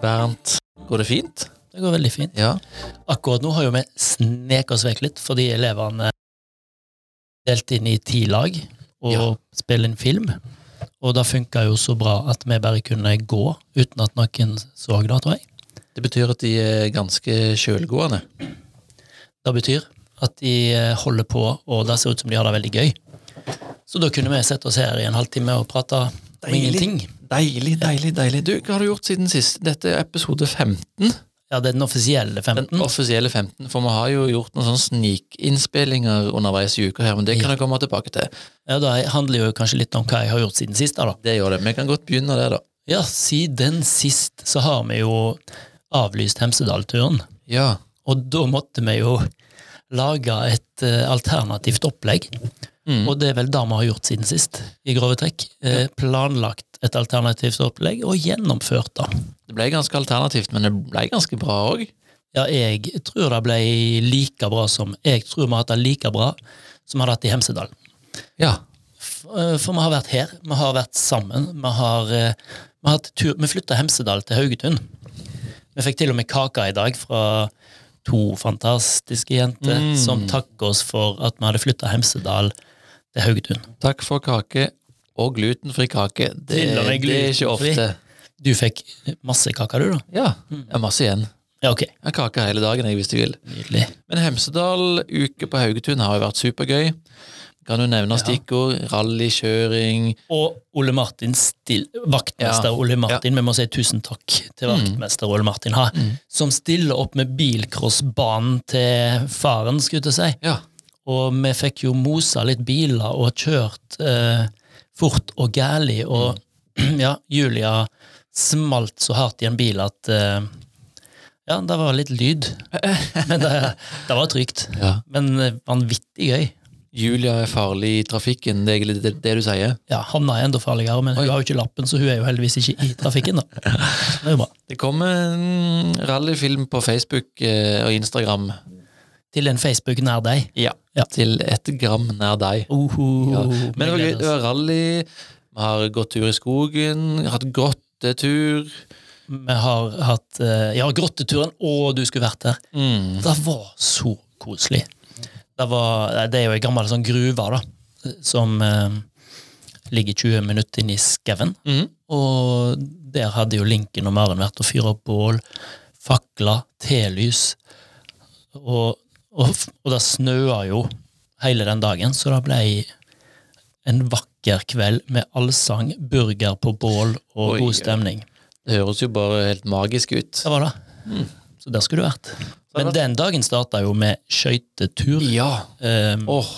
Bernt, går det fint? Det går veldig fint. Ja. Akkurat nå har jo vi sneket oss vekk litt, fordi elevene er delt inn i ti lag og Ja. spiller inn film. Og det funka jo så bra at vi bare kunne gå uten at noen så det, tror jeg. Det betyr at de er ganske kjølgående. Det betyr at de eh, holder på, og det ser ut som de har det veldig gøy. Så da kunne vi sette oss her i en halvtime og prate om Deilig. ingenting. Deilig, deilig, deilig. Du, hva har du gjort siden sist? Dette er episode 15. Ja, det er den offisielle 15. Den offisielle 15, for vi har jo gjort noen sånne snikinnspillinger underveis i uka her, men det kan jeg komme tilbake til. Ja, Det handler jo kanskje litt om hva jeg har gjort siden sist. da, da. Det gjør det. Vi kan godt begynne der, da. Ja, siden sist så har vi jo avlyst Hemsedal-turen. Ja. Og da måtte vi jo lage et eh, alternativt opplegg. Mm. Og det er vel det vi har gjort siden sist, i grove trekk. Eh, planlagt et alternativt opplegg, og gjennomført det. Det ble ganske alternativt, men det ble ganske bra òg. Ja, jeg tror det ble like bra som Jeg tror vi har hatt det like bra som vi hadde hatt i Hemsedal. Ja. F- eh, For vi har vært her, vi har vært sammen. Vi har, eh, vi har hatt tur Vi flytta Hemsedal til Haugetun. Vi fikk til og med kake i dag fra to fantastiske jenter Mm. som takket oss for at vi hadde flytta Hemsedal til Haugetun. Takk for kake og glutenfri kake. Det, Til og med det er ikke glutenfri. ofte. Du fikk masse kake, du, da? Ja. Jeg har masse igjen. Ja, ok. Jeg har kake hele dagen, jeg, hvis du vil. Nydelig. Men Hemsedal uke på Haugetun har jo vært supergøy. Kan du nevne stikkord? Rallykjøring. Og Ole Martin still, vaktmester Ja, Mm. Ole Martin, vi må si tusen takk til vaktmester Ole Martin, ha, som stiller opp med bilcrossbanen til faren, skulle jeg til å si. Ja. Og vi fikk jo mosa litt biler og kjørt eh, fort og gærlig, og ja, Julia smalt så hardt i en bil at eh, Ja, det var litt lyd, men det, det var trygt. ja. Men eh, vanvittig gøy. Julia er farlig i trafikken, det er egentlig det, det du sier. Ja, Hanna er enda farligere, men hun har jo ikke lappen, så hun er jo heldigvis ikke i trafikken, da. Det er jo bra. Det kommer en rallyfilm på Facebook eh, og Instagram. Til en Facebook nær deg. Ja. Ja. Til et gram nær deg. Oho, Ja. Men det var gøy. gleder Det oss. var rally. Vi har gått tur i skogen, hatt eh, grottetur. Vi har hatt eh, Ja, grotteturen. Å, du skulle vært der. Mm. Det var så koselig. Det, var, det er jo ei gammel sånn gruve da, som eh, ligger 20 minutter inn i skauen. Mm. Og der hadde jo Linken og Maren vært og fyra opp bål, fakler, telys. Og, og, f- og det snøa jo hele den dagen, så det ble en vakker kveld med allsang, burger på bål og Oi, oi. god stemning. Det høres jo bare helt magisk ut. Det var det. Mm. Så der skulle du vært. Men den dagen starta jo med skøytetur. Ja. eh, Åh,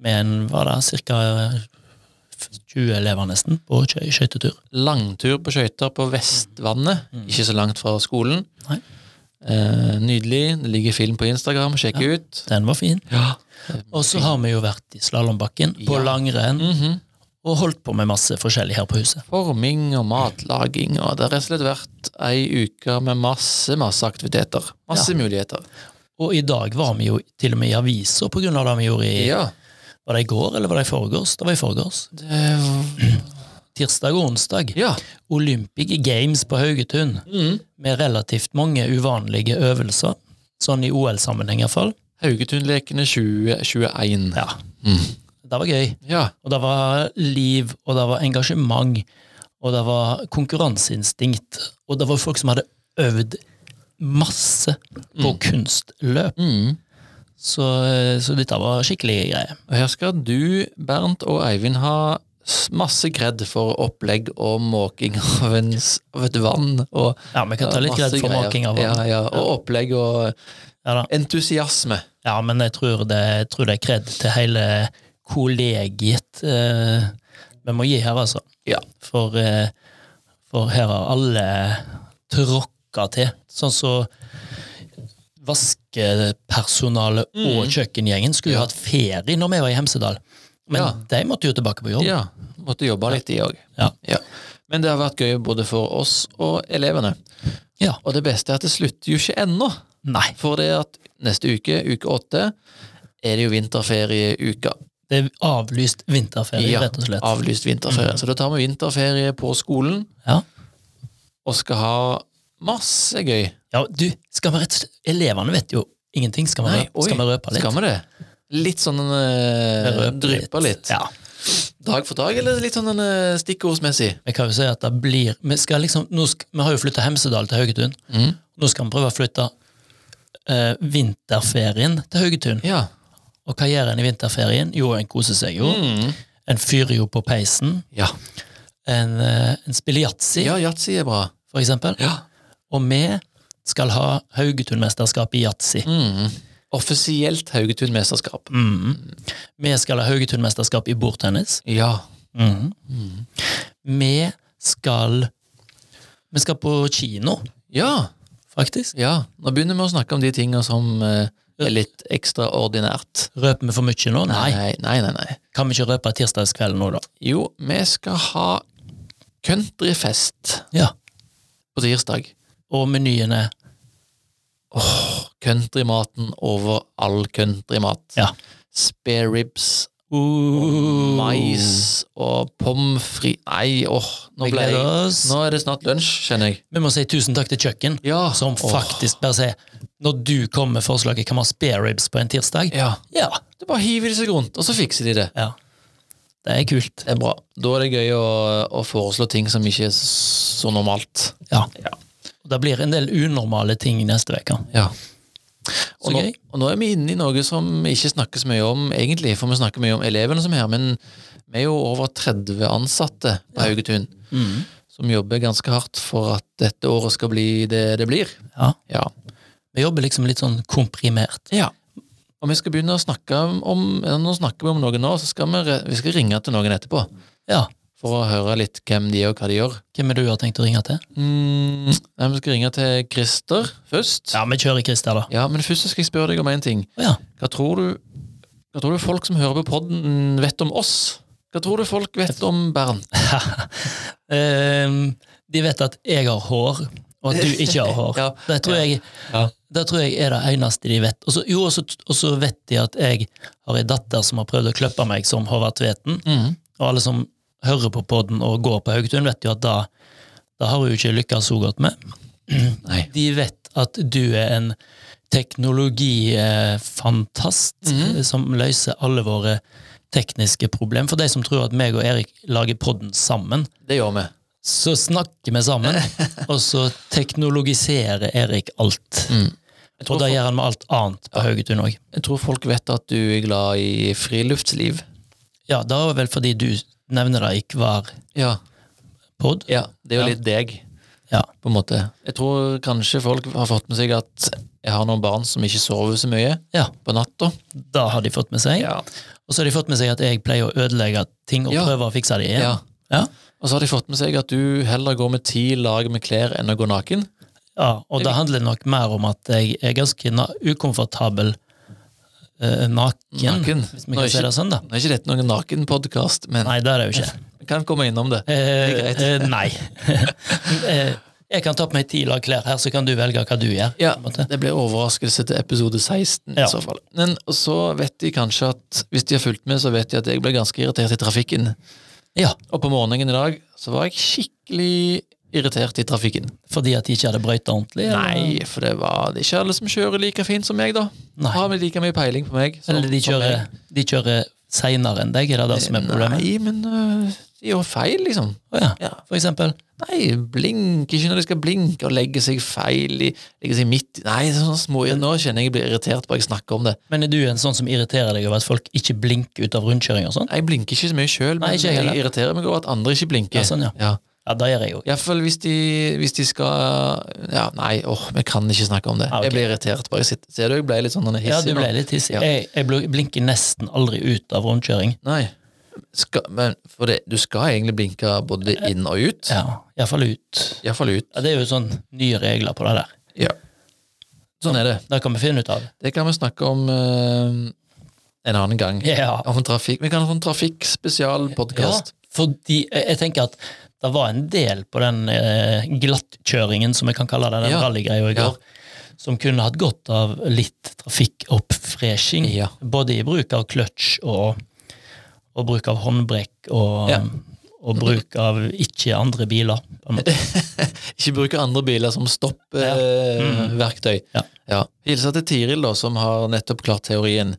Med en var det ca. 20 elever nesten på skøy- skøytetur. Langtur på skøyter på Vestvannet, ikke så langt fra skolen. Nei. Eh, nydelig. Det ligger film på Instagram, sjekk ut. Den var fin. Ja. Og så har vi jo vært i slalåmbakken, på Ja. langrenn, Mhm. og holdt på med masse forskjellig her på huset. Forming og matlaging, og det har rett og slett vært ei uke med masse, masse aktiviteter. Masse muligheter. Og i dag var vi jo til og med i avisa på grunn av det vi gjorde i Ja. Var det i går, eller var det i forgårs? Det var i forgårs. Det, Tirsdag og onsdag. ja. Mm. Olympic Games på Haugetun. Med relativt mange uvanlige øvelser. Sånn i OL-sammenheng iallfall. Haugetun-lekene 2021. Ja. Mm. Det var gøy. Ja. Og det var liv, og det var engasjement, og det var konkurranseinstinkt. Og det var folk som hadde øvd masse på kunstløp. Mm. Så, så dette var skikkelige greier. Og her skal du, Bernt og Eivind, ha s- masse kred for opplegg og måking av, en, s- av et vann. Og, Ja, vi kan ta litt masse greit for greier. making av vann. Ja, ja, og opplegg og Ja, da. entusiasme. ja, men jeg tror det, jeg tror det er kred til hele kollegiet eh, vi må gi her, altså. Ja. For, eh, for her har alle tråkka til. Sånn så vaskepersonalet Mm. og kjøkkengjengen skulle jo hatt ferie når vi var i Hemsedal. Men Ja. de måtte jo tilbake på jobb. Ja, måtte jobbe litt i òg. Oh. Ja. Men det har vært gøy både for oss og elevene. Ja. Og det beste er at det slutter jo ikke ennå. Nei. For det at neste uke, uke åtte, er det jo vinterferieuka. Det er avlyst vinterferie, rett og slett. Mm. avlyst vinterferie. Så da tar vi vinterferie på skolen Ja. og skal ha masse gøy. ja, du, skal vi rett og slett Elevene vet jo ingenting. Skal vi, Nei, røpe, skal vi røpe litt? Skal vi det? Litt sånn eh, Røpe dryppe litt. Ja. Dag for dag, eller litt sånn eh, stikkordsmessig? Jeg kan jo si at det blir Vi, skal liksom, nå sk- vi har jo flytta Hemsedal til Haugetun. Mhm. Nå skal vi prøve å flytte eh, vinterferien til Haugetun. Ja. Og hva gjør en i vinterferien? Jo, en koser seg jo. Mm. En fyrer jo på peisen. Ja, En, eh, en spiller yatzy, ja yatzy er bra. for eksempel. Ja. Og vi skal ha Haugetun-mesterskap i yatzy. Mm. Offisielt Haugetun-mesterskap. Mhm. Vi skal ha Haugetun-mesterskap i bordtennis. Ja. Mhm. Vi skal Vi skal på kino, Ja. faktisk. ja. Nå begynner vi å snakke om de tinga som eh, er litt ekstraordinært. Røper vi for mye nå? Nei. Nei, nei, nei. nei. Kan vi ikke røpe tirsdagskvelden nå, da? Jo, vi skal ha countryfest Ja. på tirsdag. Og menyen er Countrymaten over all countrymat. Ja. Spare ribs, uh, mais og pommes frites Nei, åh, nå Vi ble jeg gleder oss. Nå er det snart lunsj, kjenner jeg. Vi må si tusen takk til kjøkken, Ja. som Åh, faktisk bare sier Når du kommer med forslaget kan vi ha spare ribs på en tirsdag, Ja. ja. Det bare hiver de seg rundt, og så fikser de det. ja. Det er kult. Det er bra. Da er det gøy å, å foreslå ting som ikke er så normalt. Ja. Og det blir en del unormale ting neste uke. Ja. Og Så nå, gøy. og nå er vi inne i noe som ikke snakkes mye om, egentlig, for vi snakker mye om elevene som er her, men vi er jo over 30 ansatte på Haugetun Mm. som jobber ganske hardt for at dette året skal bli det det blir. Ja. Ja. Vi jobber liksom litt sånn komprimert. Og vi skal begynne å snakke om eller Nå snakker vi om noe nå, så skal vi, re- vi skal ringe til noen etterpå Ja. for å høre litt hvem de er, og hva de gjør. Hvem er det du har tenkt å ringe til? Mm, nei, vi skal ringe til Christer først. Ja, vi kjører Christer, da. Ja, men først så skal jeg spørre deg om en ting. Å Ja. Hva tror du, hva tror du folk som hører på podden vet om oss? Hva tror du folk vet om Bernt? Ehm, de vet at jeg har hår, og at du ikke har hår. Ja. Det, tror jeg, Ja. det tror jeg er det eneste de vet. Og så- jo, og så- Og så vet de at jeg har ei datter som har prøvd å kløppe meg som Håvard Tveten. Mhm. Og alle som hører på podden og går på Haugtun, vet jo at da, da har hun ikke lykkes så godt med. Nei. De vet at du er en teknologifantast eh, Mhm. som løser alle våre tekniske problem. For de som tror at meg og Erik lager podden sammen, Det gjør vi. så snakker vi sammen, og så teknologiserer Erik alt. Jeg Og tror, det folk, gjør han med alt annet på Haugetun òg. jeg tror folk vet at du er glad i friluftsliv. Ja, det var vel fordi du nevner det i hver Ja. pod. ja det er jo Ja. litt deg, Ja. på en måte. Jeg tror kanskje folk har fått med seg at jeg har noen barn som ikke sover så mye ja, på natta. da har de fått med seg. Ja. Og så har de fått med seg at jeg pleier å ødelegge ting og Ja. prøve å fikse det igjen. Ja. Ja. Og så har de fått med seg at du heller går med ti lag med klær enn å gå naken. Ja, og det handler nok mer om at jeg er ganske na ukomfortabel eh, naken, Naken. hvis vi Nå er kan si ikke- det sånn, da. Nå er ikke dette noen nakenpodkast, men Nei, det er det jo ikke. vi kan komme innom det. Eh, greit. eh, nei. eh, jeg kan ta på meg ti lag klær her, så kan du velge hva du gjør. Ja, på en måte. Det blir overraskelse til episode 16 Ja. i så fall. Men så vet de kanskje at hvis de har fulgt med, så vet de at jeg ble ganske irritert i trafikken. ja. Og på morgenen i dag så var jeg skikkelig irritert i trafikken. Fordi at de ikke hadde brøyta ordentlig? eller? Nei, for det var det er ikke alle som kjører like fint som meg, da. Nei. Har vi like mye peiling på meg? som- Eller de som kjører, meg? de kjører seinere enn deg, er det det som er problemet? Nei, men øh, de gjør feil, liksom. Å ja. Ja. For eksempel. Nei, blink ikke når de skal blinke og legge seg feil i Legge seg midt i Nei, det er sånne små Nå kjenner jeg jeg blir irritert bare jeg snakker om det. Men er du en sånn som irriterer deg over at folk ikke blinker ut av rundkjøring og sånn? Jeg blinker ikke så mye sjøl, men Nei, ikke jeg jeg, heller. irriterer meg over at andre ikke blinker. Ja, sånn, ja. Ja. Ja, det gjør jeg jo. Iallfall hvis, de- hvis de skal Ja, nei, åh, vi kan ikke snakke om det. Ja, Ah, ok. Jeg blir irritert bare jeg sitter Ser du, jeg ble litt sånn hissig Ja, du nå. ble litt hissig. Ja. Jeg, jeg bl- blinker nesten aldri ut av rundkjøring. Nei. Skal, men for det, du skal egentlig blinke både inn og ut. Ja, Iallfall ut. Iallfall ut. Ja, det er jo sånn nye regler på det der. Ja. Sånn er det. Det kan vi finne ut av. Det kan vi snakke om eh, en annen gang. Ja. Om trafikk. Vi kan ha en trafikkspesialpodkast. Ja, fordi jeg, jeg tenker at det var en del på den eh, glattkjøringen, som jeg kan kalle det, den Ja. rallygreia i Ja. går, som kunne hatt godt av litt trafikkoppfreshing. Ja. Både i bruk av kløtsj og, og bruk av håndbrekk og, Ja. og bruk av ikke andre biler. På en måte. Ikke bruke andre biler som stoppverktøy. Mm. Ja. Ja. Hilsa til Tiril, da, som har nettopp klart teorien.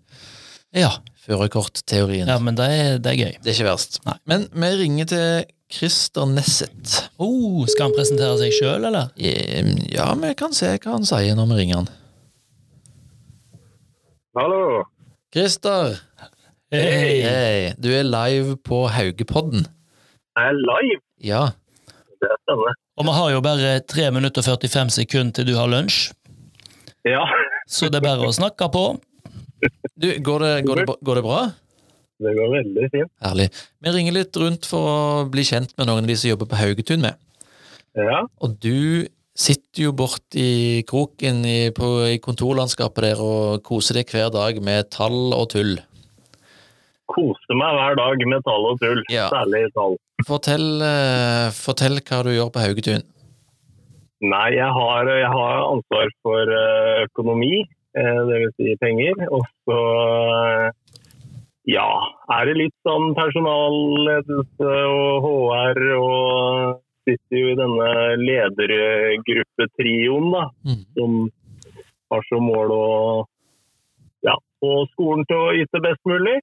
Ja, Førerkortteorien. ja, men det er, det er gøy. Det er ikke verst. Nei. Men vi ringer til Christer Nesset. Oh, skal han presentere seg sjøl, eller? Eh, Ja, vi kan se hva han sier når vi ringer han. Hallo. Christer, Hei! hei. du er live på Haugepodden. Jeg er live. Ja. Det stemmer. Og vi har jo bare 3 minutter og 45 sekunder til du har lunsj, Ja, så det er bare å snakke på. Du, går det, går det, bra- går det bra? det går veldig fint. Herlig. Vi ringer litt rundt for å bli kjent med noen av de som jobber på Haugetun med. Ja, Og du sitter jo bort i kroken i, på, i kontorlandskapet der og koser deg hver dag med tall og tull. koser meg hver dag med tall og tull. Ja. Særlig tall. Fortell, eh, fortell hva du gjør på Haugetun. Nei, jeg har, jeg har ansvar for eh, økonomi, eh, det vil Si penger. Og så eh, ja, er det litt sånn personalledelse og HR og sitter jo i denne ledergruppetrioen, da. Mm. som har som mål å ja, få skolen til å yte best mulig.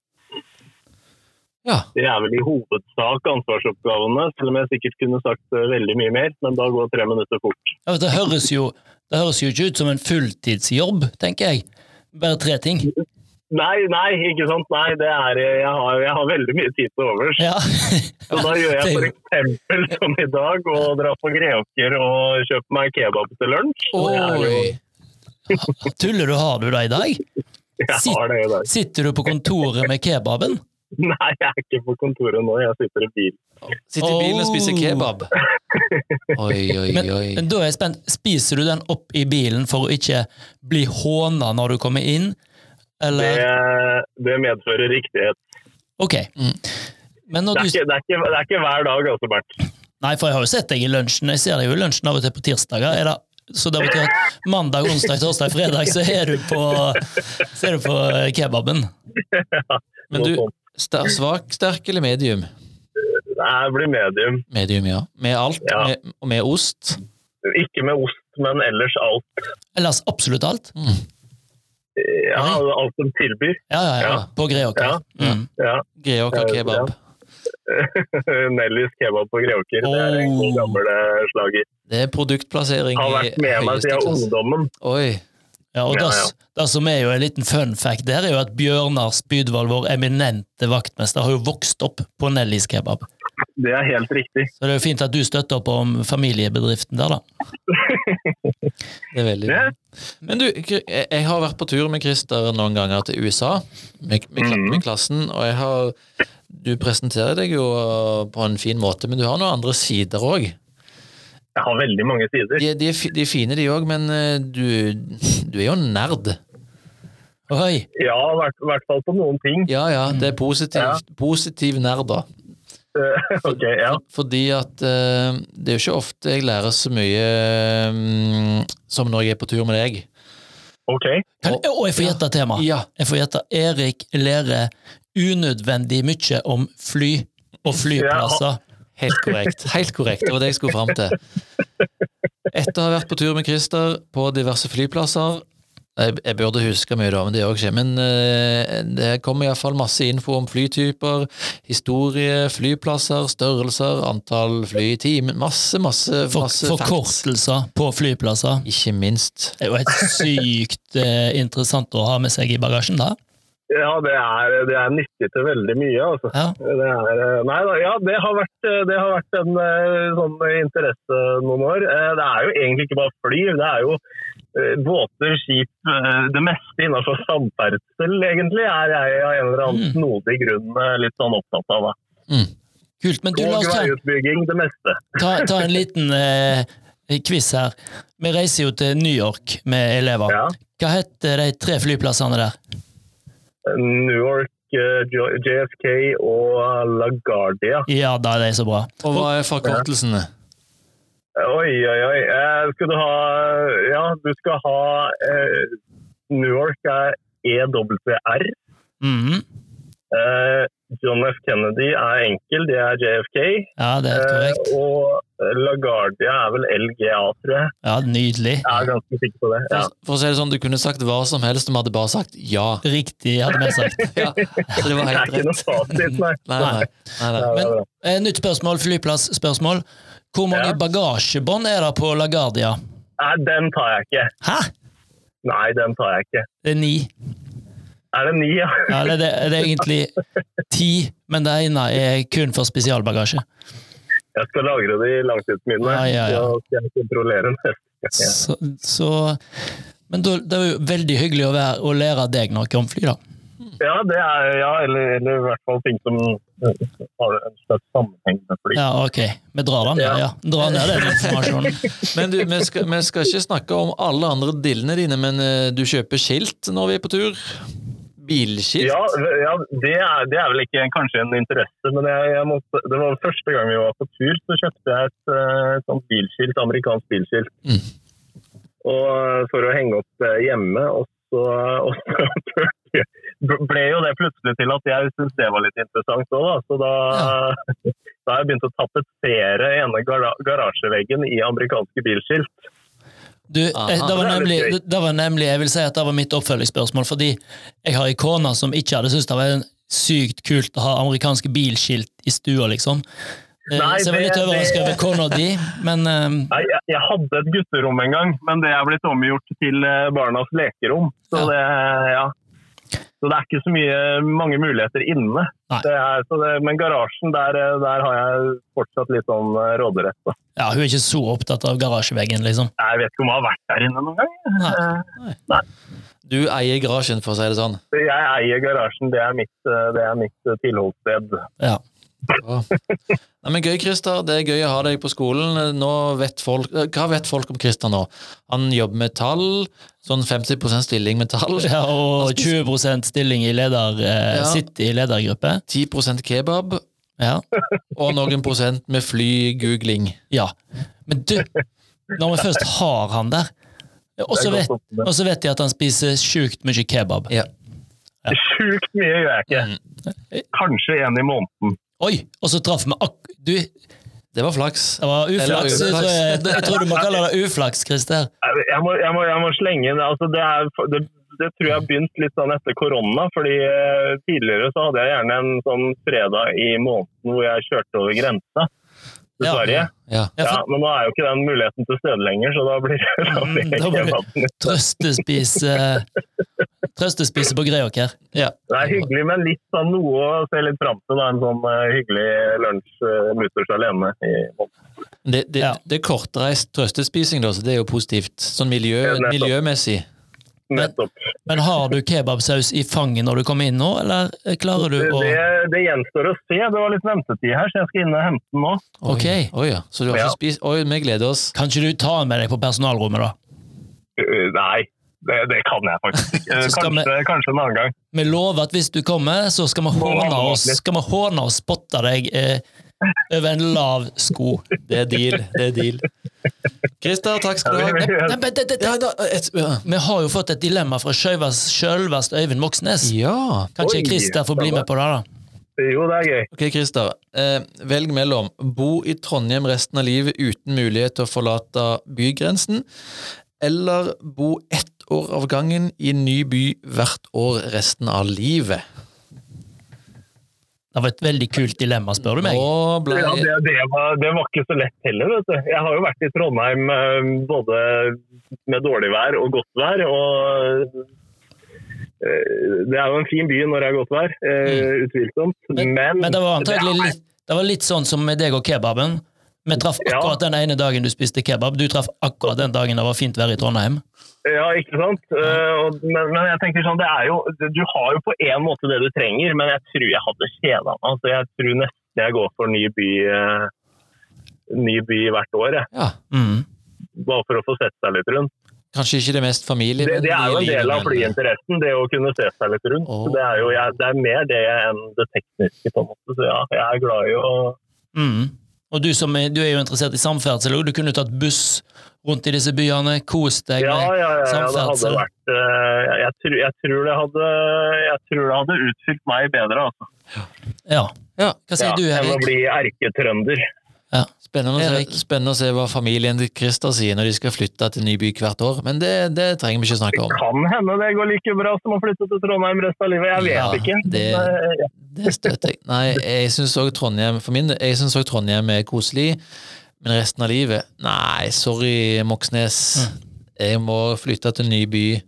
Ja. Det er vel i hovedsak ansvarsoppgavene, selv om jeg sikkert kunne sagt eh, veldig mye mer, men da går tre minutter fort. Ja, det, høres jo, det høres jo ikke ut som en fulltidsjobb, tenker jeg. Bare tre ting. Nei, nei, ikke sant. Nei, det er, eh, jeg, har, jeg har veldig mye tid til overs. Ja. Så da gjør jeg Det er jo- f.eks. som i dag, å dra på Greåker og kjøpe meg kebab til lunsj. Det er jo- Oi! Tuller du, har du det i dag? Jeg har det i dag. Sitter du på kontoret med kebaben? Nei, jeg er ikke på kontoret nå, jeg sitter i bil. Sitter i bilen og spiser Oh. kebab. Oi, oi, Men, oi. men da er jeg spent. Spiser du den opp i bilen for å ikke bli håna når du kommer inn? Eller Det, det medfører riktighet. Ok. Mm. Men Det når er, du ikke, det, er ikke, det er ikke hver dag, altså, Bernt. Nei, for jeg har jo sett deg i lunsjen. Jeg ser deg jo i lunsjen av og til på tirsdager. Er det, så det betyr at mandag, onsdag, torsdag, fredag så er du på, så er du på kebaben. Men du, Noe sånt. ster- svak, sterk eller medium? Nei, Det blir medium. Medium, ja. Med alt, Ja. med, og med ost. Ikke med ost, men ellers alt. Ellers absolutt alt. Ja, Oi. alt som tilbyr. Ja, ja, ja. Ja. På Greåker. Ja. Mm. Ja. Greåker Ja, kebab. Nellys kebab på Greåker. Det er en god Oh. gammel eh, slager. Det er produktplassering Har i vært med meg høyeste siden klasse. ungdommen. Oi. Ja, og Ja, das- Det som er jo en liten fun fact der, er jo at Bjørnar Spydvold, vår eminente vaktmester, har jo vokst opp på Nellys kebab. Det er helt riktig. Så det er jo fint at du støtter opp om familiebedriften der, da. Det er veldig bra. Ja. Men du, Kri- jeg jeg har vært på tur med Christer noen ganger til USA, med, med, kla- Mhm. med klassen, og jeg har Du presenterer deg jo eh, på en fin måte, men du har noen andre sider òg. Jeg har veldig mange sider. De, de, er fi- de er fine, de òg, men eh, du, du er jo en nerd. Oi! Ja, i hvert- i hvert fall på noen ting. Ja ja, det er Ja. positivt. Positiv nerd, da. Ok, ja. Fordi at eh, det er jo ikke ofte jeg lærer så mye mm, som når jeg er på tur med deg. Ok. Kan, å, jeg får gjette tema. Ja. Jeg får gjette Erik lærer unødvendig mye om fly og flyplasser. Helt korrekt. Helt korrekt. Det var det jeg skulle fram til. Etter å ha vært på tur med Christer på diverse flyplasser Jeg, jeg burde huske mye, da, men det gjør jeg ikke. Men eh, det kommer iallfall masse info om flytyper, historie, flyplasser, størrelser, antall fly i timen Masse, masse, For, masse facts. forkortelser på flyplasser. Ikke minst. Det er jo helt sykt eh, interessant å ha med seg i bagasjen, da. Ja, det er, det er nyttig til veldig mye, altså. Ja. Det er, eh, nei da, ja, det har vært, eh, det har vært en eh, sånn interesse noen år. Eh, Det er jo egentlig ikke bare fly, det er jo eh, båter, skip, eh, det meste innenfor samferdsel, egentlig, er jeg av en eller annen Mm. snodig grunn eh, litt sånn opptatt av. Da. Kult. Men du, la Og oss ta veiutbygging, det meste. ta, ta en liten eh, quiz her. Vi reiser jo til New York med elever. Ja. Hva heter de tre flyplassene der? New York, eh, J- JFK og LaGuardia. Ja da, det er så bra. Og hva er forkortelsene? Oi, oi, oi. Eh, Skal du ha Ja, du skal ha eh, New York er E EWR. Mhm. Eh, John F. Kennedy er enkel, det er JFK. Ja, det er helt Eh, korrekt. og LaGuardia er vel LGA, tror jeg. Ja, Nydelig. Jeg er ganske sikker på det. Ja. For, for å si det sånn, Du kunne sagt hva som helst om vi hadde bare sagt ja. Riktig, hadde vi sagt. ja. Så det var Det er helt ikke noe rett. fasit, nei. Nei, nei, nei, nei. Ja, det er Men- bra. Eh, Nytt spørsmål, flyplassspørsmål. Hvor mange Ja. bagasjebånd er det på LaGuardia? Nei, Eh, den tar jeg ikke. Hæ? Nei, den tar jeg ikke. Det er ni. Er det ni, ja? Ja, eller det, det er egentlig ti, men det ene er kun for spesialbagasje. Jeg skal lagre det i langtidsminnet. Ja, ja, ja. Så skal jeg kontrollere det. Så, så Men da, det er jo veldig hyggelig å, være, å lære deg noe om fly, da. Ja, det er, ja eller, eller i hvert fall ting som eh, har en slags sammenheng med fly. Ja, ok. Vi drar den ned, ja. Dra ned den informasjonen. Men du, vi skal, vi skal ikke snakke om alle andre dillene dine, men eh, du kjøper skilt når vi er på tur? Bilskilt? Ja, ja det, er, det er vel ikke en, kanskje en interesse, men jeg, jeg måtte, det var første gang vi var på tur, så kjøpte jeg et eh, sånt bilskilt, amerikansk bilskilt. Og eh, for å henge opp eh, hjemme, og så, og så ble jo det plutselig til at jeg syntes det var litt interessant òg, da. Så da, da har jeg begynt å tapetsere ene gara- garasjeveggen i amerikanske bilskilt. Du, eh, Aha. det, var Det er litt nemlig, gøy. det- det var nemlig Jeg vil si at det var mitt oppfølgingsspørsmål, fordi jeg har ei kone som ikke hadde syntes det var en sykt kult å ha amerikanske bilskilt i stua, liksom. Eh, Nei, så jeg var det- litt overraska over det- kona di, men eh, Nei, jeg, jeg hadde et gutterom en gang, men det er blitt omgjort til eh, barnas lekerom. Ja. Så, det, ja. så det er ikke så mye, mange muligheter inne. Nei. Det er, så det, men garasjen, der, eh, der har jeg fortsatt litt sånn eh, råderett. Da. ja, hun er ikke så opptatt av garasjeveggen, liksom. Jeg vet ikke om jeg har vært der inne noen gang. Nei. Eh, Du eier garasjen, for å si det sånn. så Eh, Jeg eier garasjen, det er mitt, eh, det er mitt eh, tilholdssted. Ja. Ja. Nei, men Gøy, Christer. Det er gøy å ha deg på skolen. Nå vet folk, eh, hva vet folk om Christer nå? Han jobber med tall. Sånn 50 stilling med tall. ja og 20 stilling i leder, eh, Ja. sitt i ledergruppe. 10 kebab Ja. og noen prosent med flygoogling. ja. Men du, når vi først har han der, eh, og så Det er vet, godt å- og så vet de at han spiser sjukt mye kebab. Ja. Sjukt mye gjør jeg ikke. Mm. Kanskje en i måneden. Oi! Og så traff vi akk... Du, Det var flaks. det var Eller uflaks. uflaks. Jeg tror, jeg, jeg tror du må kalle det uflaks, Christer. Jeg må, jeg må, jeg må slenge inn altså det, er, det, det tror jeg har begynt litt sånn etter korona. fordi eh, Tidligere så hadde jeg gjerne en sånn fredag i måneden hvor jeg kjørte over grensa til Ja. Sverige. Ja. Ja, Ja, for men nå er jo ikke den muligheten til stede lenger, så da blir det da blir det Mm, Da blir det- kebaben. trøstespise Trøstespise på Greåker. Ja. Det er hyggelig, men litt sånn noe å se litt fram til. da, En sånn eh, hyggelig lunsj eh, mutters alene. i måneden. Det, det, Ja. det er kortreist trøstespising, da, så det er jo positivt. Sånn miljø, Ja, nettopp. miljømessig. Nettopp. Men har du kebabsaus i fanget når du kommer inn nå, eller klarer du Det, å det, det gjenstår å se. Det var litt ventetid her, så jeg skal inn og hente den nå. Oi, Ok. Oi, ja. Så du har Ja. ikke spist Oi, vi gleder oss. Kan ikke du ta den med deg på personalrommet, da? Uh, Nei, det, det kan jeg faktisk ikke. Eh, Så skal Kanskje, kanskje en annen gang. Vi lover at hvis du kommer, så skal vi håne oss Skal vi håne og spotte deg eh, over en lav sko. Det er deal. Det er deal. Christer, takk skal du ha. Nei, men det, det, det. Ja, da, et, ja. Vi har jo fått et dilemma fra sjølvest sjølvest Øyvind Moxnes. ja. Kanskje Oi, Christer får bli med på det, da? Jo, det er gøy. Ok, Christer. Eh, velg mellom bo i Trondheim resten av livet uten mulighet til å forlate bygrensen, eller bo ett år av gangen i en ny by hvert år resten av livet. Det var et veldig kult dilemma, spør du meg. Nå ble Ja, det, det, var, det var ikke så lett heller. Vet du. Jeg har jo vært i Trondheim eh, både med dårlig vær og godt vær. og eh, Det er jo en fin by når det er godt vær, eh, utvilsomt. Men, Mm. Men det var antagelig det er- litt, det var litt sånn som med deg og kebaben. Vi traff Ja. akkurat den ene dagen du spiste kebab. Du traff akkurat den dagen det var fint vær i Trondheim. Ja, ikke sant? Eh, og, men, men jeg tenker sånn, det er jo, du har jo på en måte det du trenger, men jeg tror jeg hadde kjeda meg. Altså, jeg tror nesten jeg går for ny by, eh, ny by hvert år, jeg. Ja, Mm. bare for å få sett seg litt rundt. kanskje ikke det mest Det, familievennlige det er jo en livet, del av men- flyinteressen, det å kunne se seg litt rundt. Åh. Det, er jo, jeg, det er mer det enn det tekniske, på en måte. Så ja, jeg er glad i å Mm. Og du, som er, du er jo interessert i samferdsel, og du kunne tatt buss rundt i disse byene, kost deg Ja, med ja, ja, ja det hadde samferdsel. vært eh, jeg, jeg, tror, jeg, tror det hadde, jeg tror det hadde utfylt meg bedre. Altså. Ja. Ja, Hva sier du, ja, jeg må Erik? bli erketrønder. spennende, å Erik. se, spennende å se hva familien til Christer sier når de skal flytte til en ny by hvert år, men det, det trenger vi ikke snakke om. Kan hende det går like bra som å flytte til Trondheim resten av livet. Jeg vet Ja, ikke. det- Men, eh, ja. Det støtter jeg. Nei, jeg syns òg Trondheim for min, del- jeg synes også Trondheim er koselig, men resten av livet Nei, sorry, Moxnes. Jeg må flytte til en ny by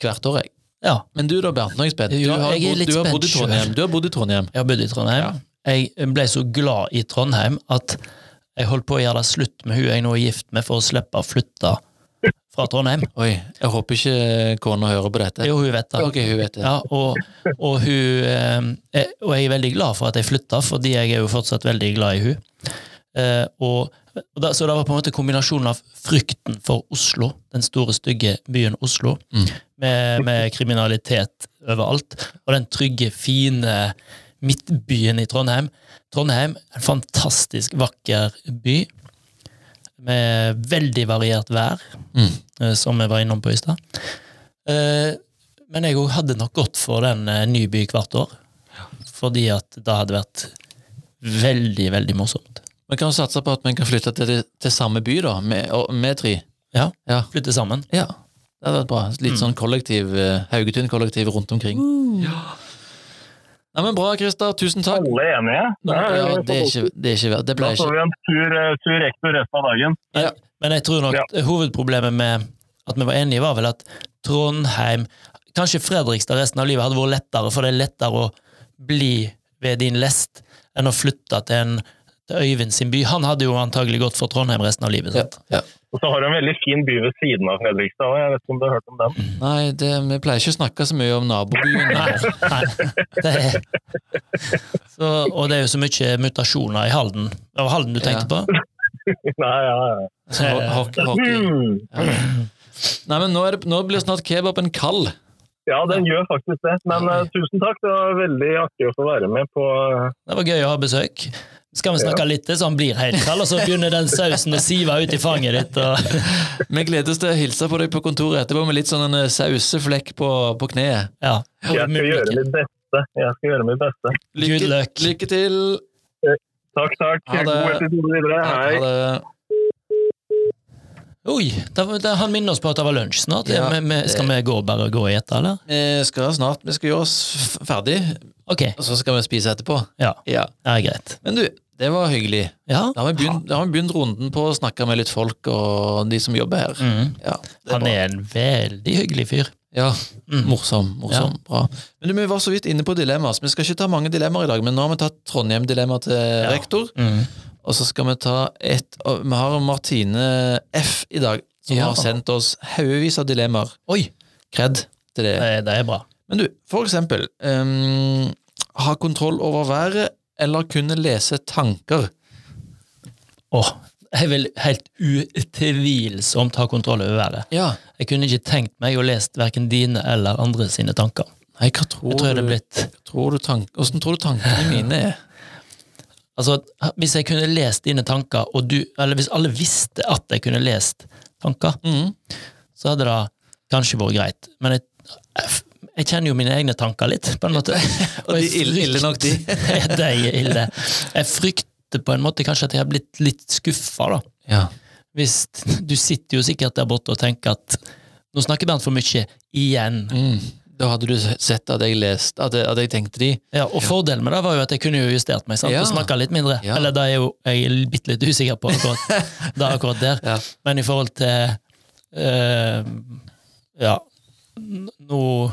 hvert år, jeg. Ja. Men du da, Bernt, nå er jeg spent. Du Ja, har, jeg er bodd, litt du har bodd i spent selv. Trondheim. Du har bodd i Trondheim. Jeg har bodd i Trondheim. Jeg ble så glad i Trondheim at jeg holdt på å gjøre det slutt med hun jeg nå er gift med, for å slippe å flytte fra Trondheim. Oi, jeg håper ikke kona hører på dette. Jo, hun vet det. Ok, hun vet det. Ja, og, og, hun, eh, eh, og jeg er veldig glad for at jeg flytta, fordi jeg er jo fortsatt veldig glad i hun. Eh, og, og da, så det var på en måte kombinasjonen av frykten for Oslo, den store, stygge byen Oslo, Mm. med, med kriminalitet overalt, og den trygge, fine midtbyen i Trondheim. Trondheim er en fantastisk vakker by, med veldig variert vær, Mm. eh, som vi var innom på i stad. Eh, Men jeg òg hadde nok gått for den eh, ny by hvert år. Fordi at det hadde vært veldig, veldig morsomt. Vi kan jo satse på at vi kan flytte til, til samme by, da, med, og- med tre. Ja. Ja. Flytte sammen. Ja, det hadde vært bra. Litt sånn kollektiv, eh, Haugetun-kollektiv rundt omkring. Ja. Nei, men bra, Christer. Tusen takk. Alle er enige. Nå, ja, det er ikke, det er ikke verdt- Det ble Da får ikke vi en tur, eh, tur rektor resten av dagen. Men jeg tror nok Ja. hovedproblemet med at vi var enige, var vel at Trondheim Kanskje Fredrikstad resten av livet hadde vært lettere, for det er lettere å bli ved din lest enn å flytte til, en, til Øyvind sin by. Han hadde jo antagelig gått for Trondheim resten av livet. ja, Sant? ja. Og så har du en veldig fin by ved siden av Fredrikstad. og Jeg vet ikke om du har hørt om den? Nei, det, vi pleier ikke å snakke så mye om nabobyen. Nei, her. nei. Det er. Så, og det er jo så mye mutasjoner i Halden. Det var Halden du tenkte på? Nei, ja, ja. Så ho- ho- hockey. Hmm. Nei, men nå, er det, nå blir snart kebaben kald. ja, den gjør faktisk det. Men eh, tusen takk. Det var veldig artig å få være med på eh, Det var gøy å ha besøk. Skal vi snakke litt til så han blir helt kald, og så begynner den sausen å sive ut i fanget ditt? Og... Vi gleder oss til å hilse på deg på kontoret etterpå med litt sånn en eh, sauseflekk på, på kneet. Ja. Jeg skal gjøre mitt beste. Jeg skal gjøre mitt beste. Good Lykke, luck. lykke til. Takk, takk. Ha det. God episode videre. Hei. Ha det. Oi, da, var- da, han minner oss på at det var lunsj snart. Ja, Men- men skal vi gå, bare gå og ete, eller? Vi skal snart vi skal gjøre oss f- ferdig, Ok, og så skal vi spise etterpå. ja, Ja. det er greit. Men du, det var hyggelig. Ja, Da har vi begynt, da har vi begynt runden på å snakke med litt folk og de som jobber her. Mhm. Ja, det er han bra. er en veldig hyggelig fyr. ja Mm. morsom. morsom, Bra. Men du, Vi var så vidt inne på dilemmaer, så vi skal ikke ta mange dilemmaer i dag. Men nå har vi tatt Trondheim-dilemma til rektor, Mhm. og så skal vi ta et og Vi har Martine F i dag, som Ja. har sendt oss haugevis av dilemmaer. Oi, Kred til det. det, det er bra. Men du, for eksempel ehm, Ha kontroll over været eller kunne lese tanker? Åh, jeg vil helt utvilsomt ha kontroll over været. Ja. Jeg kunne ikke tenkt meg å lest verken dine eller andre sine tanker. Nei, hva tror, Jeg tror jeg du, hadde blitt tror du tank, Hvordan tror du tankene mine er? Altså, hvis jeg kunne lest dine tanker, og du Eller hvis alle visste at jeg kunne lest tanker, Mhm. så hadde det kanskje vært greit. Men jeg, jeg, jeg kjenner jo mine egne tanker litt, på en måte. Og de er jeg ille- ille nok, de. frykter- de er ille. Jeg frykter på en måte kanskje at jeg har blitt litt skuffa, da. Ja. Hvis Du sitter jo sikkert der borte og tenker at nå snakker Bernt for mye igjen. Mm. Da hadde du sett at jeg leste, at jeg, at jeg tenkte de. Ja, og fordelen med det var jo at jeg kunne jo justert meg sant? Ja. og snakka litt mindre. Ja. Eller det er jo jeg er bitte litt usikker på akkurat, det er akkurat der. Ja. Men i forhold til eh, Ja, n- nå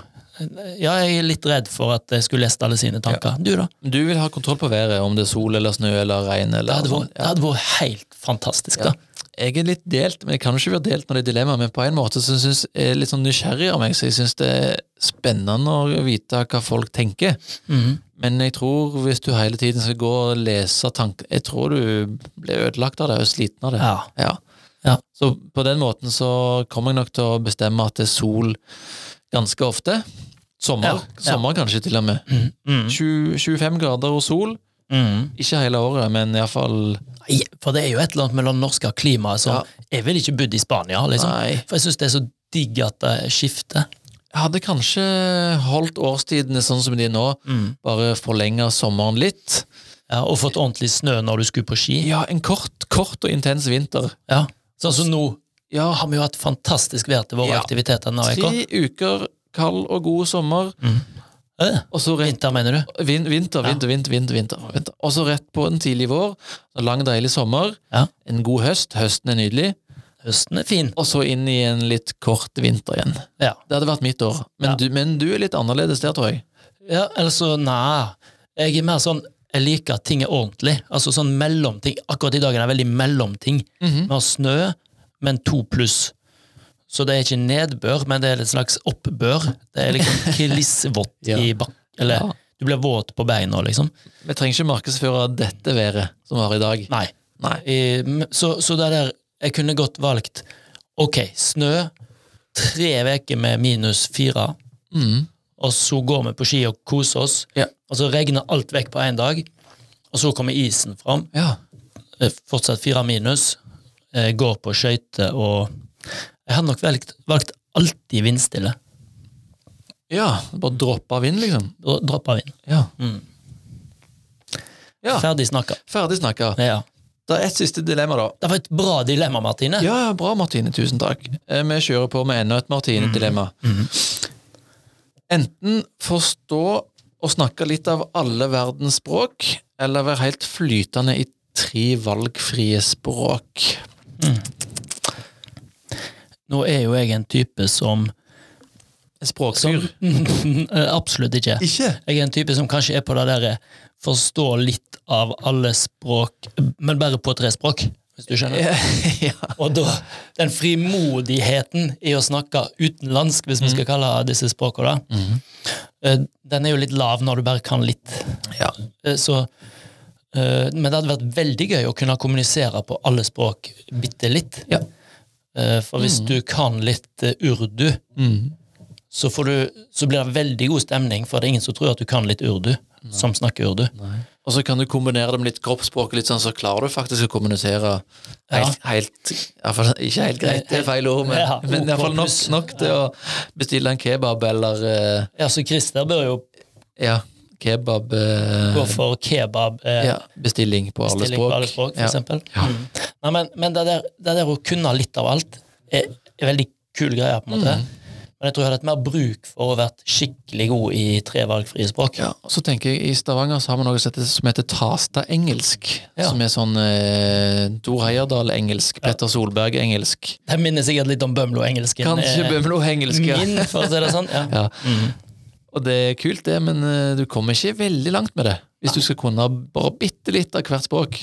Ja, jeg er litt redd for at jeg skulle lest alle sine tanker. Du, da? Men Du vil ha kontroll på været, om det er sol eller snø eller regn. Det Eller hadde sånn. vært, det hadde vært helt fantastisk, da. Jeg er litt delt, men jeg kan ikke være delt når det er dilemma, men på en måte så synes jeg er litt sånn nysgjerrig av meg, så jeg synes det er spennende å vite hva folk tenker. Mhm. Men jeg tror hvis du hele tiden skal gå og lese tanker, jeg tror du blir ødelagt av det og sliten av det. Ja. Ja. Ja. Så på den måten så kommer jeg nok til å bestemme at det er sol ganske ofte. Sommer, Ja, ja. sommer kanskje til og med. Mhm. 20, 25 grader og sol, Mm. Ikke hele året, men iallfall Nei, For det er jo et eller annet mellom norske og klimaet som Jeg ville ikke bodd i Spania, liksom. Nei. For jeg syns det er så digg at det skifter. Jeg hadde kanskje holdt årstidene sånn som de er nå, bare forlenga sommeren litt. Ja, og fått ordentlig snø når du skulle på ski. Ja, en kort, kort og intens vinter. Ja. Sånn som nå Ja, har vi jo hatt fantastisk vær til våre Ja. aktiviteter denne uka. tre uker kald og god sommer, Eh, og så rett Vinter, mener du? vin, vinter, vinter, vinter, vinter, vinter, vinter. Og så rett på en tidlig vår. En lang, deilig sommer. Ja. En god høst. Høsten er nydelig. Høsten er fin. Og så inn i en litt kort vinter igjen. Ja. Det hadde vært mitt år. Men, Ja. du, men du er litt annerledes der, tror jeg. Ja, eller så nei. Jeg er mer sånn jeg liker at ting er ordentlig. Altså sånn mellomting. Akkurat i dag er det veldig mellomting. Mhm. Vi har snø, men to pluss. Så det er ikke nedbør, men det er et slags oppbør. Det er liksom klissvått Ja. i bakken. Eller Ja. du blir våt på beina, liksom. Vi trenger ikke markedsføre dette været som vi har i dag. Nei. Nei. Eh, m- Så, så det der Jeg kunne godt valgt Ok, snø, tre uker med minus fire, Mm. og så går vi på ski og koser oss, Ja. og så regner alt vekk på én dag, og så kommer isen fram, ja. eh, fortsatt fire minus, eh, går på skøyter og Jeg hadde nok valgt, valgt alltid vindstille. Ja, bare droppe av vind, liksom. Da dropper vind. Ja. Mm. Ja. Ferdig snakka. Ferdig snakka. Ja. Det er ett siste dilemma, da. Det var et bra dilemma, Martine. Ja, ja, bra, Martine. Tusen takk. Eh, Vi kjører på med enda et Martine-dilemma. mm. Enten forstå og snakke litt av alle verdens språk, eller være helt flytende i tre valgfrie språk. Nå er jo jeg en type som eh, Språkfyr. Absolutt ikke. Ikke? Jeg er en type som kanskje er på det der eh, forstå litt av alle språk, men bare på tre språk, hvis du skjønner. ja. Og da, den frimodigheten i å snakke utenlandsk, hvis vi Mm. skal kalle disse språkene, da, eh, den er jo litt lav når du bare kan litt. ja. Eh, Så, eh, men det hadde vært veldig gøy å kunne kommunisere på alle språk bitte litt. Ja. Eh, For hvis du kan litt eh, urdu, Mm. så, får du, så blir det veldig god stemning, for det er ingen som tror at du kan litt urdu, som snakker urdu. Og så kan du kombinere det med litt kroppsspråk, litt sånn, så klarer du faktisk å kommunisere helt, helt i hvert fall Ikke helt greit, det er feil ord, men, Ja, men ok iallfall nok, pluss. nok til å bestille en kebab eller eh, Ja, så Christer bør jo Ja, kebab eh, gå for kebab. Eh, ja, Bestilling på alle stilling på språk. alle språk, for ja. eksempel. Ja. Mm. Nei, men, men det, der, det der å kunne litt av alt er, er veldig kul greie, på en måte. Mm. Men jeg tror jeg hadde hatt mer bruk for å vært skikkelig god i tre valgfrie språk. Ja, og så tenker jeg I Stavanger så har vi noe som heter, som heter Tasta-engelsk. Ja. Som er sånn eh, Tor Heyerdahl-engelsk, Petter Solberg-engelsk. Det minner sikkert litt om Bømlo-engelsken. Kanskje eh, Bømlo-engelsk. ja. Min, for å si det sånn. Ja. Ja. Og det er kult, det, men eh, du kommer ikke veldig langt med det. Hvis du skal kunne bare bitte litt av hvert språk.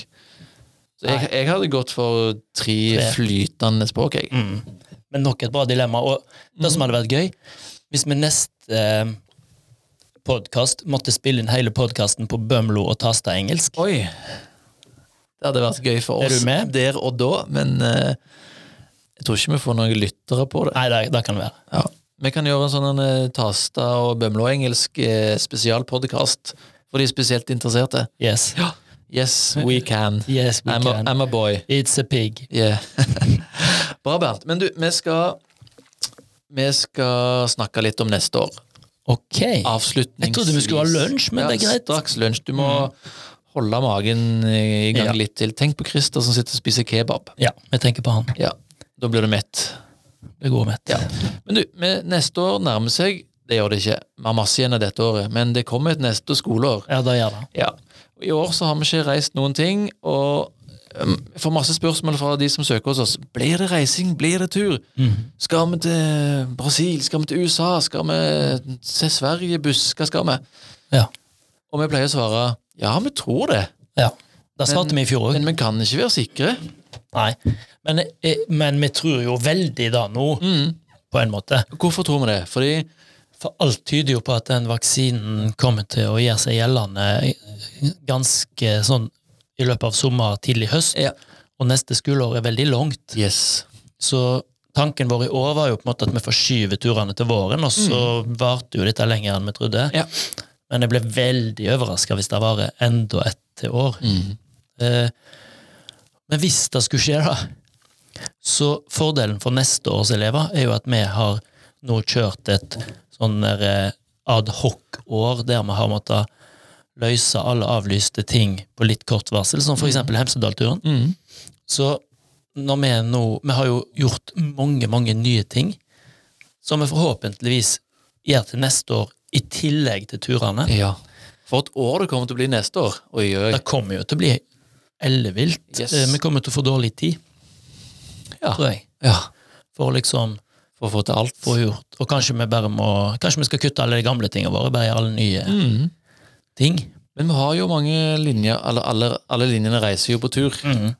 Så jeg, jeg hadde gått for tre, Tre. flytende språk, jeg. mm. Men nok et bra dilemma. Og det Mm. som hadde vært gøy, hvis vi neste eh, podkast måtte spille inn hele podkasten på Bømlo og Tasta engelsk Oi! Det hadde vært gøy for Er oss du med? der og da, men eh, jeg tror ikke vi får noen lyttere på det. Nei, det, det kan det være. Ja. Vi kan gjøre en sånn eh, Tasta og Bømlo-engelsk eh, spesialpodkast for de spesielt interesserte. Yes. Yes, we can. Yes, we I'm, can. A, I'm a boy. It's a pig. Yeah. Bra, Bernt. Men du, vi skal Vi skal snakke litt om neste år. Ok. Avslutningsvis. Jeg trodde vi skulle ha lunsj, men det er greit. Mm. Straks lunsj. Du må holde magen eh, i gang Ja. litt til. Tenk på Christer som sitter og spiser kebab. Ja, vi tenker på han. Ja, Da blir du mett. Det går med. Ja. Men du, vi- neste år nærmer seg. Det gjør det ikke. Vi har masse igjen av dette året, men det kommer et neste skoleår. ja, det gjør det. Ja. Og I år så har vi ikke reist noen ting, og um, jeg får masse spørsmål fra de som søker hos oss. Blir det reising? Blir det tur? Skal vi til Brasil? Skal vi til USA? Skal vi til Sverige? Buss? Hva skal vi? Ja. Og vi pleier å svare ja, vi tror det, ja. Det svarte vi i fjor òg. men vi kan ikke være sikre. Nei. Men, eh, men vi tror jo veldig da nå, på en måte. Hvorfor tror vi det? Fordi For alt tyder jo på at den vaksinen kommer til å gjøre seg gjeldende eh, ganske sånn i løpet av sommer, tidlig høst, Ja. og neste skoleår er veldig langt. Yes. Så tanken vår i år var jo på en måte at vi forskyver turene til våren, og så varte jo dette lenger enn vi trodde. Ja. Men jeg ble veldig overraska hvis det varer enda et til år. Mm. Eh, Men hvis det skulle skje, da, så fordelen for neste års elever er jo at vi har nå kjørt et sånn der eh, adhoc-år der vi har måttet løse alle avlyste ting på litt kort varsel, som for eksempel Hemsedal-turen. Mm. Så når vi nå Vi har jo gjort mange, mange nye ting som vi forhåpentligvis gjør til neste år i tillegg til turene. Ja. For et år det kommer til å bli neste år. Oi, oi, oi. Det kommer jo til å bli ellevilt. Yes. Eh, Vi kommer til å få dårlig tid, Ja. tror jeg. Ja. For å liksom For å få til alt. få gjort. Og kanskje vi bare må Kanskje vi skal kutte alle de gamle tingene våre, bare gjøre alle nye Mm. ting. Men vi har jo mange linjer, eller alle, alle linjene reiser jo på tur,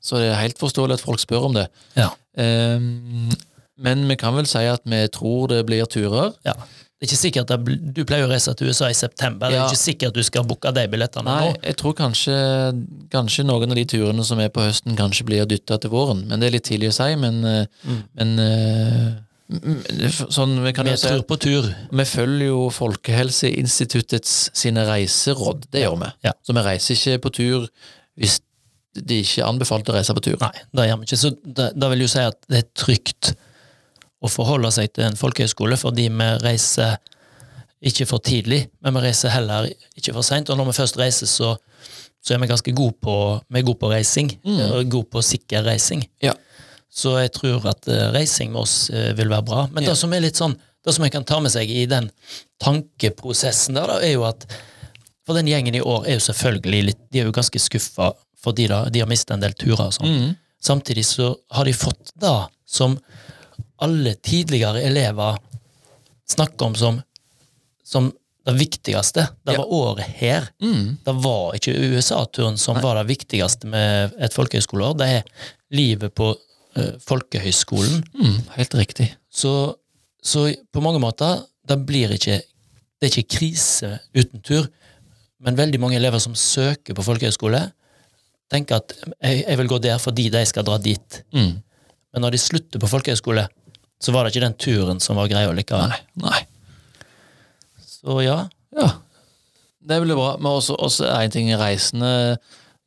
så det er helt forståelig at folk spør om det. Ja. Ehm, men vi kan vel si at vi tror det blir turer. ja. Det er ikke sikkert at Du pleier å reise til USA i september. Det Ja. er ikke sikkert du skal booke de billettene Nei, nå. jeg tror kanskje, kanskje noen av de turene som er på høsten, kanskje blir dytta til våren. Men det er litt tidlig å si. Men, eh, men eh, m- m- sånn vi kan Vi jo si tror på tur. Vi følger jo Folkehelseinstituttets sine reiseråd. Det gjør vi. Ja. Så vi reiser ikke på tur hvis de ikke er anbefalt å reise på tur. Nei, det gjør vi ikke. Så det, det vil jo si at det er trygt å forholde seg til en folkehøyskole, fordi vi reiser ikke for tidlig, men vi reiser heller ikke for seint. Og når vi først reiser, så, så er vi ganske gode på, vi er gode på reising. Mm. Og gode på sikker reising. Ja. Så jeg tror at eh, reising med oss eh, vil være bra. Men Ja. det som er litt sånn, det som jeg kan ta med seg i den tankeprosessen der, da, er jo at for den gjengen i år er jo selvfølgelig litt, de er jo ganske skuffa fordi da, de har mistet en del turer og sånn. Mm. Samtidig så har de fått det som alle tidligere elever snakker om som, som det viktigste. Det Ja. var året her. Mm. Det var ikke USA-turen som var det viktigste med et folkehøyskoleår. Det er livet på eh, folkehøyskolen. Mm. Helt riktig. Så, så på mange måter, det blir ikke Det er ikke krise uten tur, men veldig mange elever som søker på folkehøyskole, tenker at jeg, jeg vil gå der fordi de skal dra dit. Mm. Men når de slutter på folkehøyskole, så var det ikke den turen som var greia likevel. Nei. Nei. Så ja, Ja. Det blir bra. Men også, også er en ting reisende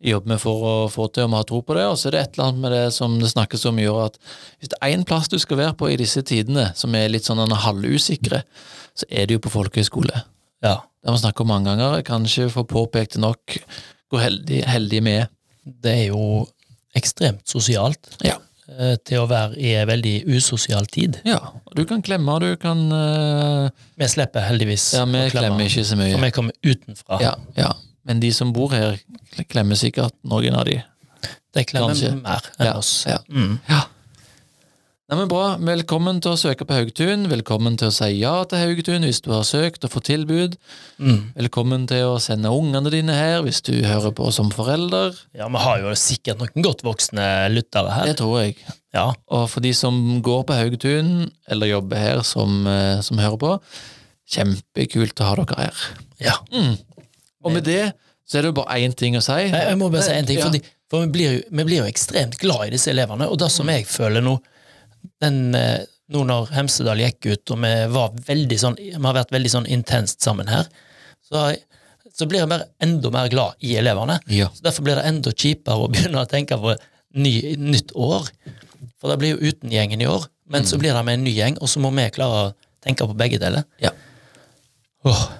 jobber vi for å få til, og vi har tro på det. Og så er det et eller annet med det som det snakkes om, gjør at hvis det er én plass du skal være på i disse tidene, som er litt sånn en halvusikre, så er det jo på folkehøyskole. ja. Det har vi snakket om mange ganger. Jeg kan ikke få påpekt det nok hvor heldige, heldige vi er. Det er jo ekstremt sosialt Ja. eh, til å være i en veldig usosial tid. ja. Du kan klemme, du kan eh, Vi slipper heldigvis Ja, vi å klemme, klemmer ikke så for mye. vi kommer utenfra. Ja, ja. Men de som bor her, klemmer sikkert noen av de. De klemmer Kanskje. mer enn Ja, oss. ja. Mm. Ja. Nei, men bra. Velkommen til å søke på Haugetun. Velkommen til å si ja til Haugetun hvis du har søkt og fått tilbud. Mm. Velkommen til å sende ungene dine her hvis du hører på som forelder. Ja, vi har jo sikkert noen godt voksne lyttere her. Det tror jeg. Ja, Og for de som går på Haugetun, eller jobber her som, eh, som hører på, kjempekult å ha dere her. ja. Mm. Og med det så er det jo bare én ting å si. Jeg, jeg må bare si en ting, Ja. fordi, for vi blir, jo, vi blir jo ekstremt glad i disse eleverne, og det som jeg føler nå, den, eh, nå når Hemsedal gikk ut, og vi, var veldig sånn, vi har vært veldig sånn intenst sammen her, så, har jeg- så blir jeg bare enda mer glad i eleverne. Ja. Så derfor blir det enda kjipere å begynne å tenke på ny, nytt år. For det blir jo uten gjengen i år, men Mm. så blir det med en ny gjeng, og så må vi klare å tenke på begge deler. Ja. Åh,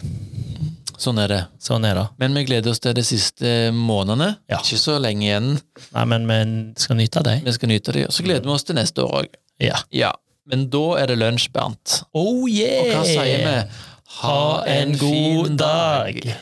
Sånn er det. sånn er det. Men vi gleder oss til de siste månedene. Ja. Ikke så lenge igjen. Nei, men vi skal nyte av deg. Vi skal nyte de, og så gleder vi oss til neste år òg. Ja. Ja. Men da er det lunsj, Bernt. Oh yeah! Og hva sier vi? Ha en god dag.